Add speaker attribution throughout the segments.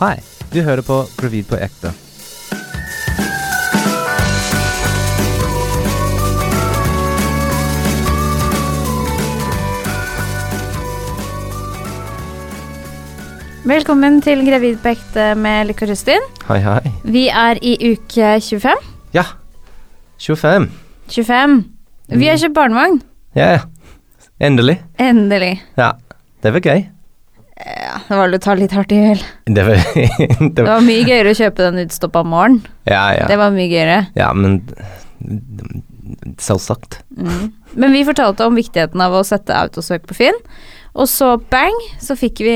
Speaker 1: Hei, du hører på Gravid på ekte.
Speaker 2: Velkommen til Gravid på ekte med Lykke og Justin.
Speaker 1: Hei, hei.
Speaker 2: Vi er i uke 25.
Speaker 1: Ja, 25.
Speaker 2: 25. Vi har kjøpt barnevogn.
Speaker 1: Ja, ja. Endelig.
Speaker 2: Endelig.
Speaker 1: Ja, det var gøy.
Speaker 2: Ja, det var vel å ta litt hardt i hjel.
Speaker 1: Det var, det
Speaker 2: Det
Speaker 1: var
Speaker 2: var mye gøyere å kjøpe den utstoppa morgen.
Speaker 1: Ja, ja.
Speaker 2: Det var mye gøyere.
Speaker 1: Ja, men Selvsagt.
Speaker 2: Mm. Men vi fortalte om viktigheten av å sette autosøk på Finn, og så bang, så fikk vi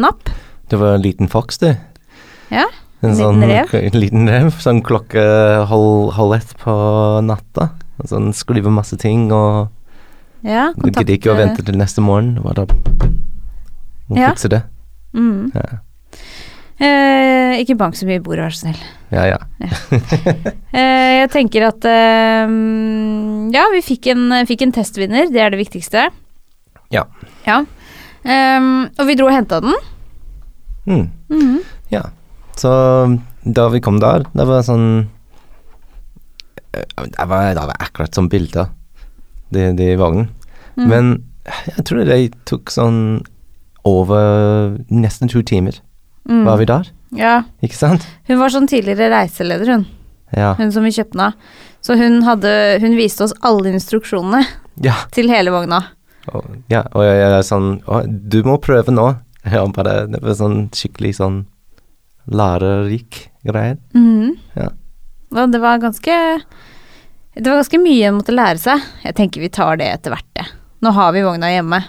Speaker 2: napp.
Speaker 1: Du var en liten foks, du.
Speaker 2: Ja,
Speaker 1: En
Speaker 2: en
Speaker 1: sånn,
Speaker 2: liten rev.
Speaker 1: En liten rev. Sånn klokke halv, halv ett på natta. Og Sånn skriver masse ting og
Speaker 2: Ja,
Speaker 1: Du gidder ikke å vente til neste morgen. Hva da? Må
Speaker 2: Ja.
Speaker 1: fikse det.
Speaker 2: Mm.
Speaker 1: Ja.
Speaker 2: Eh, ikke bank så mye i bordet, vær så snill.
Speaker 1: Ja, ja.
Speaker 2: Eh, jeg tenker at eh, Ja, vi fikk en, fikk en testvinner, det er det viktigste.
Speaker 1: Ja.
Speaker 2: Ja. Ehm, og vi dro og henta den.
Speaker 1: Mm.
Speaker 2: Mhm.
Speaker 1: Ja. Så da vi kom der, det var sånn eh, Det var, det var akkurat som bilder, de, de vognen.
Speaker 2: Mm.
Speaker 1: Men jeg tror det tok sånn over nesten to timer
Speaker 2: Mm.
Speaker 1: var vi der,
Speaker 2: Ja.
Speaker 1: ikke sant?
Speaker 2: Hun var sånn tidligere reiseleder, hun.
Speaker 1: Ja.
Speaker 2: Hun som vi kjøpte den av. Så hun, hadde, hun viste oss alle instruksjonene
Speaker 1: Ja,
Speaker 2: til hele vogna.
Speaker 1: og, ja, og jeg, jeg er sånn å, Du må prøve nå. Ja, bare, det var sånn skikkelig sånn lærerik greier.
Speaker 2: Mhm.
Speaker 1: Ja.
Speaker 2: Og det var ganske Det var ganske mye hun måtte lære seg. Jeg tenker vi tar det etter hvert, det. Nå har vi vogna hjemme.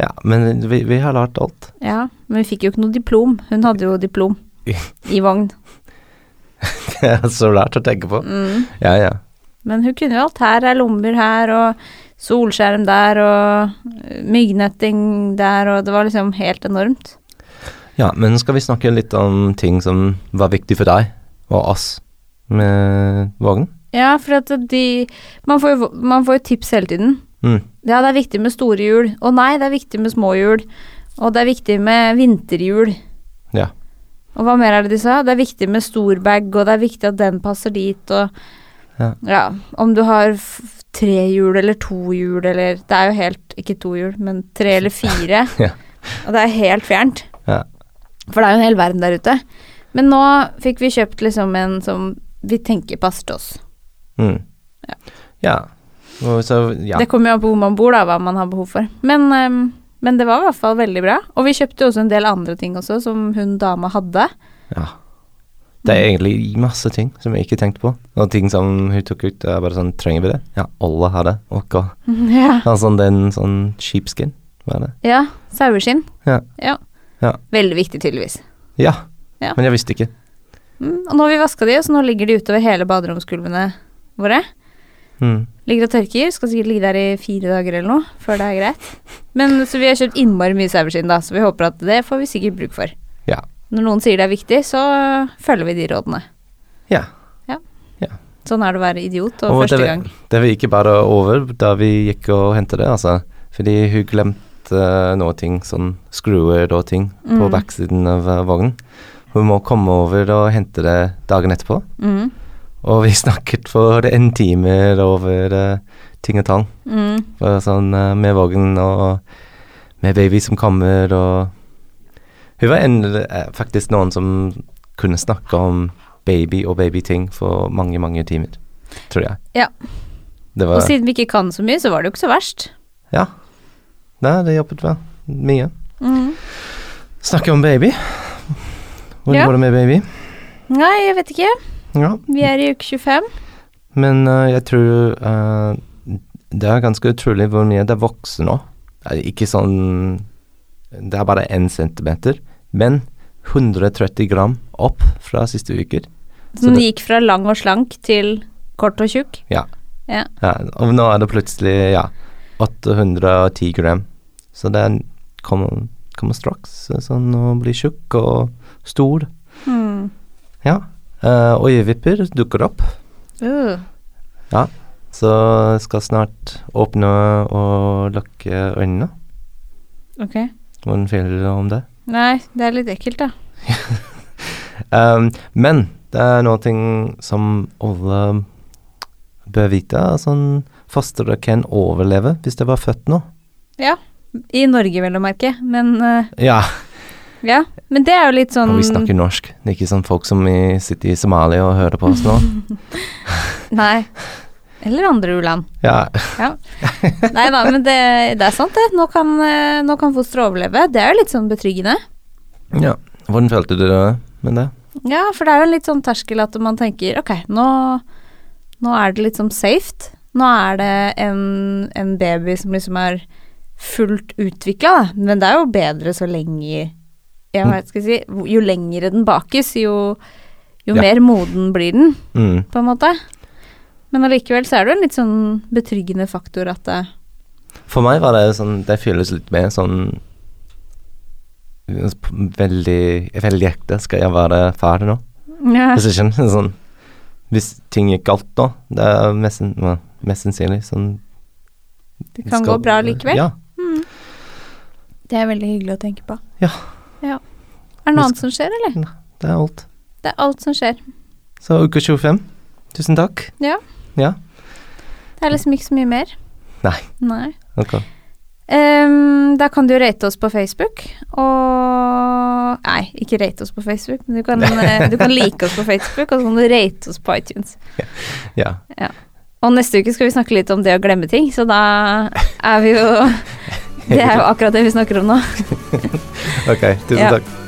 Speaker 1: Ja, men vi, vi har lært alt.
Speaker 2: Ja, men vi fikk jo ikke noe diplom. Hun hadde jo diplom i vogn.
Speaker 1: Det er så rart å tenke på.
Speaker 2: Mm.
Speaker 1: Ja, ja.
Speaker 2: Men hun kunne jo alt. Her er lommer her, og solskjerm der, og eh, myggnetting der, og det var liksom helt enormt.
Speaker 1: Ja, men skal vi snakke litt om ting som var viktig for deg og oss med vogn?
Speaker 2: Ja, for at de Man får jo, man får jo tips hele tiden.
Speaker 1: Mm.
Speaker 2: Ja, det er viktig med store hjul. Å nei, det er viktig med små hjul. Og det er viktig med vinterhjul.
Speaker 1: Ja.
Speaker 2: Og hva mer er det de sa? Det er viktig med storbag, og det er viktig at den passer dit, og
Speaker 1: Ja.
Speaker 2: om du har f- tre hjul eller to hjul eller Det er jo helt Ikke to hjul, men tre eller fire.
Speaker 1: Ja.
Speaker 2: Og det er helt fjernt.
Speaker 1: Ja.
Speaker 2: For det er jo en hel verden der ute. Men nå fikk vi kjøpt liksom en som vi tenker passer til oss.
Speaker 1: Mm.
Speaker 2: Ja.
Speaker 1: Ja. Og så, ja.
Speaker 2: Det kommer jo an på hvor man bor, da, hva man har behov for. Men, ehm, men det var i hvert fall veldig bra. Og vi kjøpte jo også en del andre ting også, som hun dama hadde.
Speaker 1: ja. Det er egentlig masse ting som jeg ikke tenkte på. Og ting som hun tok ut, er bare sånn Trenger vi det? Ja, alle har det. Ok.
Speaker 2: Ja.
Speaker 1: Ja, sånn den sånn sheepskin, hva er det?
Speaker 2: ja Saueskinn.
Speaker 1: Ja. Ja.
Speaker 2: Veldig viktig, tydeligvis.
Speaker 1: Ja.
Speaker 2: Ja.
Speaker 1: Men jeg visste ikke.
Speaker 2: Mm, og nå har vi vaska de, så nå ligger de utover hele baderomsgulvene våre.
Speaker 1: Mm.
Speaker 2: Ligger og tørker. Skal sikkert ligge der i fire dager eller noe før det er greit. Men Så vi har kjøpt innmari mye saueskinn, da, så vi håper at det får vi sikkert bruk for.
Speaker 1: Ja.
Speaker 2: Når noen sier det er viktig, så følger vi de rådene.
Speaker 1: Ja.
Speaker 2: Sånn er det å være idiot og,
Speaker 1: Og
Speaker 2: første
Speaker 1: det,
Speaker 2: gang.
Speaker 1: Det var ikke bare over da vi gikk og hentet det, altså. Fordi hun glemte eh, noe ting, sånn skruer og ting, på
Speaker 2: Mm.
Speaker 1: backsiden av eh, vognen. Hun må komme over og hente det dagen etterpå.
Speaker 2: Mm.
Speaker 1: Og vi snakket for en time over eh, ting og tang.
Speaker 2: Mm.
Speaker 1: Og sånn eh, med vogn og med baby som kommer og Hun var en, eh, faktisk noen som kunne snakke om baby og babyting for mange, mange timer, tror jeg.
Speaker 2: Ja.
Speaker 1: Det var
Speaker 2: Og siden vi ikke kan så mye, så var det jo ikke så verst.
Speaker 1: Ja. Nei, det jobbet vel mye.
Speaker 2: Mm.
Speaker 1: Snakke om baby. Hvordan
Speaker 2: Ja.
Speaker 1: går det med baby?
Speaker 2: Nei, jeg vet ikke.
Speaker 1: Ja.
Speaker 2: Vi er i uke 25.
Speaker 1: Men eh, jeg tror eh, det er ganske utrolig hvor mye det vokser nå. Det er ikke sånn Det er bare én centimeter, men 130 gram opp fra siste uker. Så
Speaker 2: Som
Speaker 1: det-
Speaker 2: gikk fra lang og slank til kort og tjukk.
Speaker 1: Ja, og nå er det plutselig ja, 810 gram. Så den kommer, kommer straks eh, sånn å bli tjukk og stor. Ja. eh, øyevipper dukker opp,
Speaker 2: Uh.
Speaker 1: så skal snart åpne og lukke øynene.
Speaker 2: Ok.
Speaker 1: Hvordan føler du deg om det?
Speaker 2: Nei, det er litt ekkelt, da.
Speaker 1: um, men det er noe ting som alle bør vite. Sånn fostre kan overleve hvis det var født nå.
Speaker 2: Ja. I Norge, vel å merke. Men eh,
Speaker 1: Ja,
Speaker 2: ja. Men det er jo litt sånn
Speaker 1: og vi snakker norsk. Det er ikke sånn folk som i, sitter i Somalia og hører på oss nå.
Speaker 2: Nei. Eller andre u-land.
Speaker 1: Ja,
Speaker 2: Ja. Nei da, men det, det er sant, det. Nå kan, eh, nå kan fosteret overleve. Det er jo litt sånn betryggende.
Speaker 1: ja. Hvordan følte du det med det?
Speaker 2: Ja, for det er jo en litt sånn terskel at man tenker ok, nå, nå er det liksom safe. Nå er det en, en baby som liksom er fullt utvikla, da. Men det er jo bedre så lenge jeg
Speaker 1: Mm.
Speaker 2: vet, skal jeg si, Jo lengre den bakes, jo, jo
Speaker 1: Ja.
Speaker 2: mer moden blir den,
Speaker 1: Mm.
Speaker 2: på en måte. Men allikevel så er det jo en litt sånn betryggende faktor at eh, det
Speaker 1: For meg var det sånn Det føles litt mer sånn Veldig Veldig ekte. Skal jeg være far nå?
Speaker 2: ja.
Speaker 1: Hvis jeg skjønner sånn Hvis ting gikk galt nå, det er mest, sann- ja, mest sannsynlig sånn
Speaker 2: Det kan gå bra Mm.
Speaker 1: Altså,
Speaker 2: likevel.
Speaker 1: Ja.
Speaker 2: Det er veldig hyggelig å tenke på.
Speaker 1: Ja.
Speaker 2: ja. Er det noe annet som skjer, eller?
Speaker 1: Det er alt.
Speaker 2: Det er alt som skjer.
Speaker 1: Så uke 25. Tusen takk.
Speaker 2: Ja.
Speaker 1: Ja.
Speaker 2: Det er liksom ikke så mye mer.
Speaker 1: Nei.
Speaker 2: Nei.
Speaker 1: Ok.
Speaker 2: Ehm, da kan du jo rate oss på Facebook, og Nei, ikke rate oss på Facebook, men du kan, eh, du kan like oss på Facebook, og så kan du rate oss på iTunes.
Speaker 1: Ja.
Speaker 2: Og neste uke skal vi snakke litt om det å glemme ting, så da er vi jo Det er jo akkurat det vi snakker om nå.
Speaker 1: Ok. Tusen
Speaker 2: Ja.
Speaker 1: takk.